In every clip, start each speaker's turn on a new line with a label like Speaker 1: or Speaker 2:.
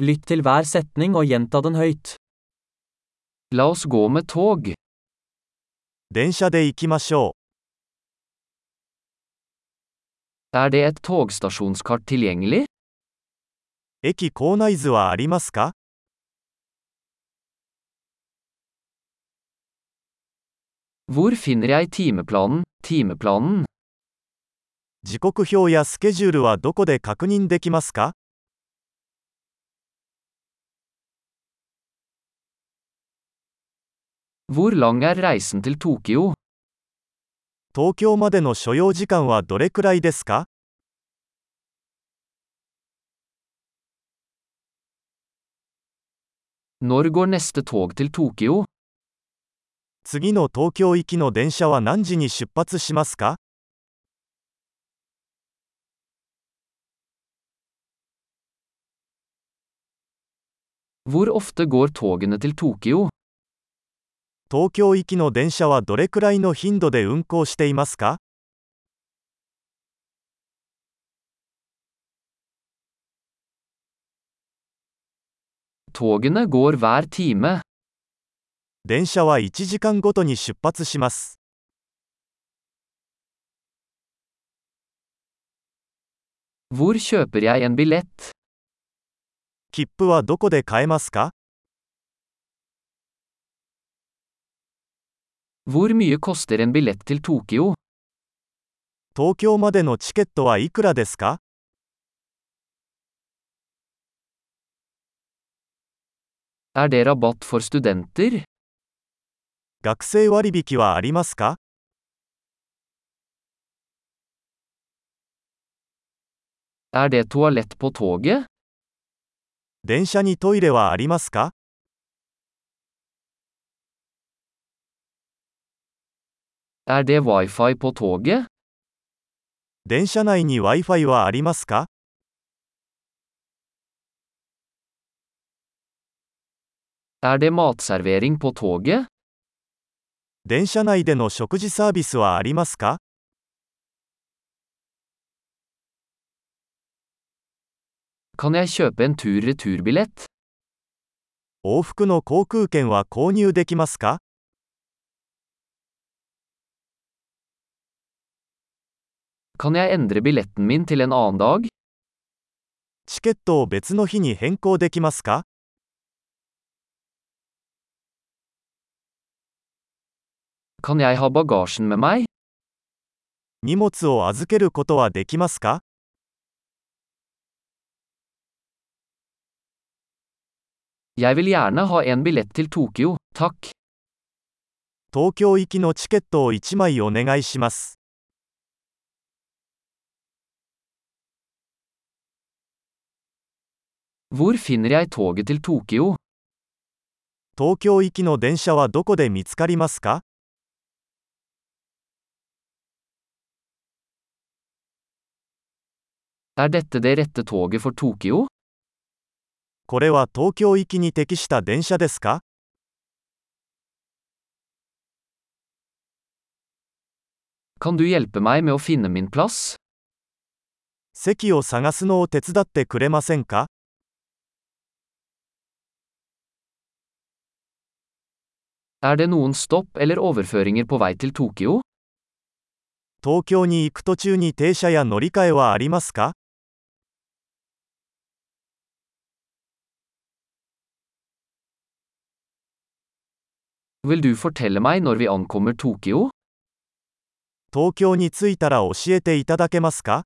Speaker 1: Lytt til hver setning og gjenta den høyt. La oss gå med tog.
Speaker 2: 電車で行きましょ
Speaker 1: Er det et togstasjonskart tilgjengelig?
Speaker 2: う。駅構内図はありますか
Speaker 1: Hvor finner jeg timeplanen, timeplanen?
Speaker 2: 時刻表やスケジュールはどこで確認できますか
Speaker 1: Hvor lang er reisen til Tokyo?
Speaker 2: 東京までの所要時間はどれくらいですか
Speaker 1: Når går neste tog til Tokyo?
Speaker 2: 次の東京行きの電車は何時に出発しますか
Speaker 1: Hvor ofte går togene til Tokyo?
Speaker 2: 東京行きの電車はどれくらいの頻度で運行していますか
Speaker 1: Togene går hver time.
Speaker 2: 電車は1時間ごとに出発します。
Speaker 1: Hvor kjøper jeg en billett?
Speaker 2: 切符はどこで買えますか
Speaker 1: Hvor mye koster en billett til Tokyo?
Speaker 2: 東京までのチケットはいくらですか
Speaker 1: Er det rabatt for studenter?
Speaker 2: 学生割引はありますか
Speaker 1: Er det toalett på toget?
Speaker 2: 電車にトイレはありますか
Speaker 1: Er det wifi på toget?
Speaker 2: 電車内に Wi-Fi はありますか
Speaker 1: Er det matservering på toget?
Speaker 2: 電車内での食事サービスはありますか
Speaker 1: Kan jeg kjøpe en tur-returbillett?
Speaker 2: 往復の航空券は購入できますか
Speaker 1: Kan jeg endre billetten min til en annen dag?
Speaker 2: チケットを別の日に変更できますか
Speaker 1: Kan jeg ha bagasjen med meg?
Speaker 2: 荷物を預けることはできますか
Speaker 1: Jeg vil gjerne ha en billett til Tokyo, takk.
Speaker 2: 東京行きのチケットを1枚お願いします。
Speaker 1: Hvor finner jeg toget til Tokyo?
Speaker 2: 東京行きの電車はどこで見つかりますか
Speaker 1: Er dette det rette toget for Tokyo?
Speaker 2: これは東京行きに適した電車ですか
Speaker 1: Kan du hjelpe meg med å finne min plass?
Speaker 2: 席を探すのを手伝ってくれませんか
Speaker 1: Er det noen stopp eller overføringer på vei til Tokyo?
Speaker 2: 東京に行く途中に停車や乗り換えはありますか
Speaker 1: Vil du fortelle meg når vi ankommer Tokyo?
Speaker 2: 東京に着いたら教えていただけますか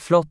Speaker 1: Flott!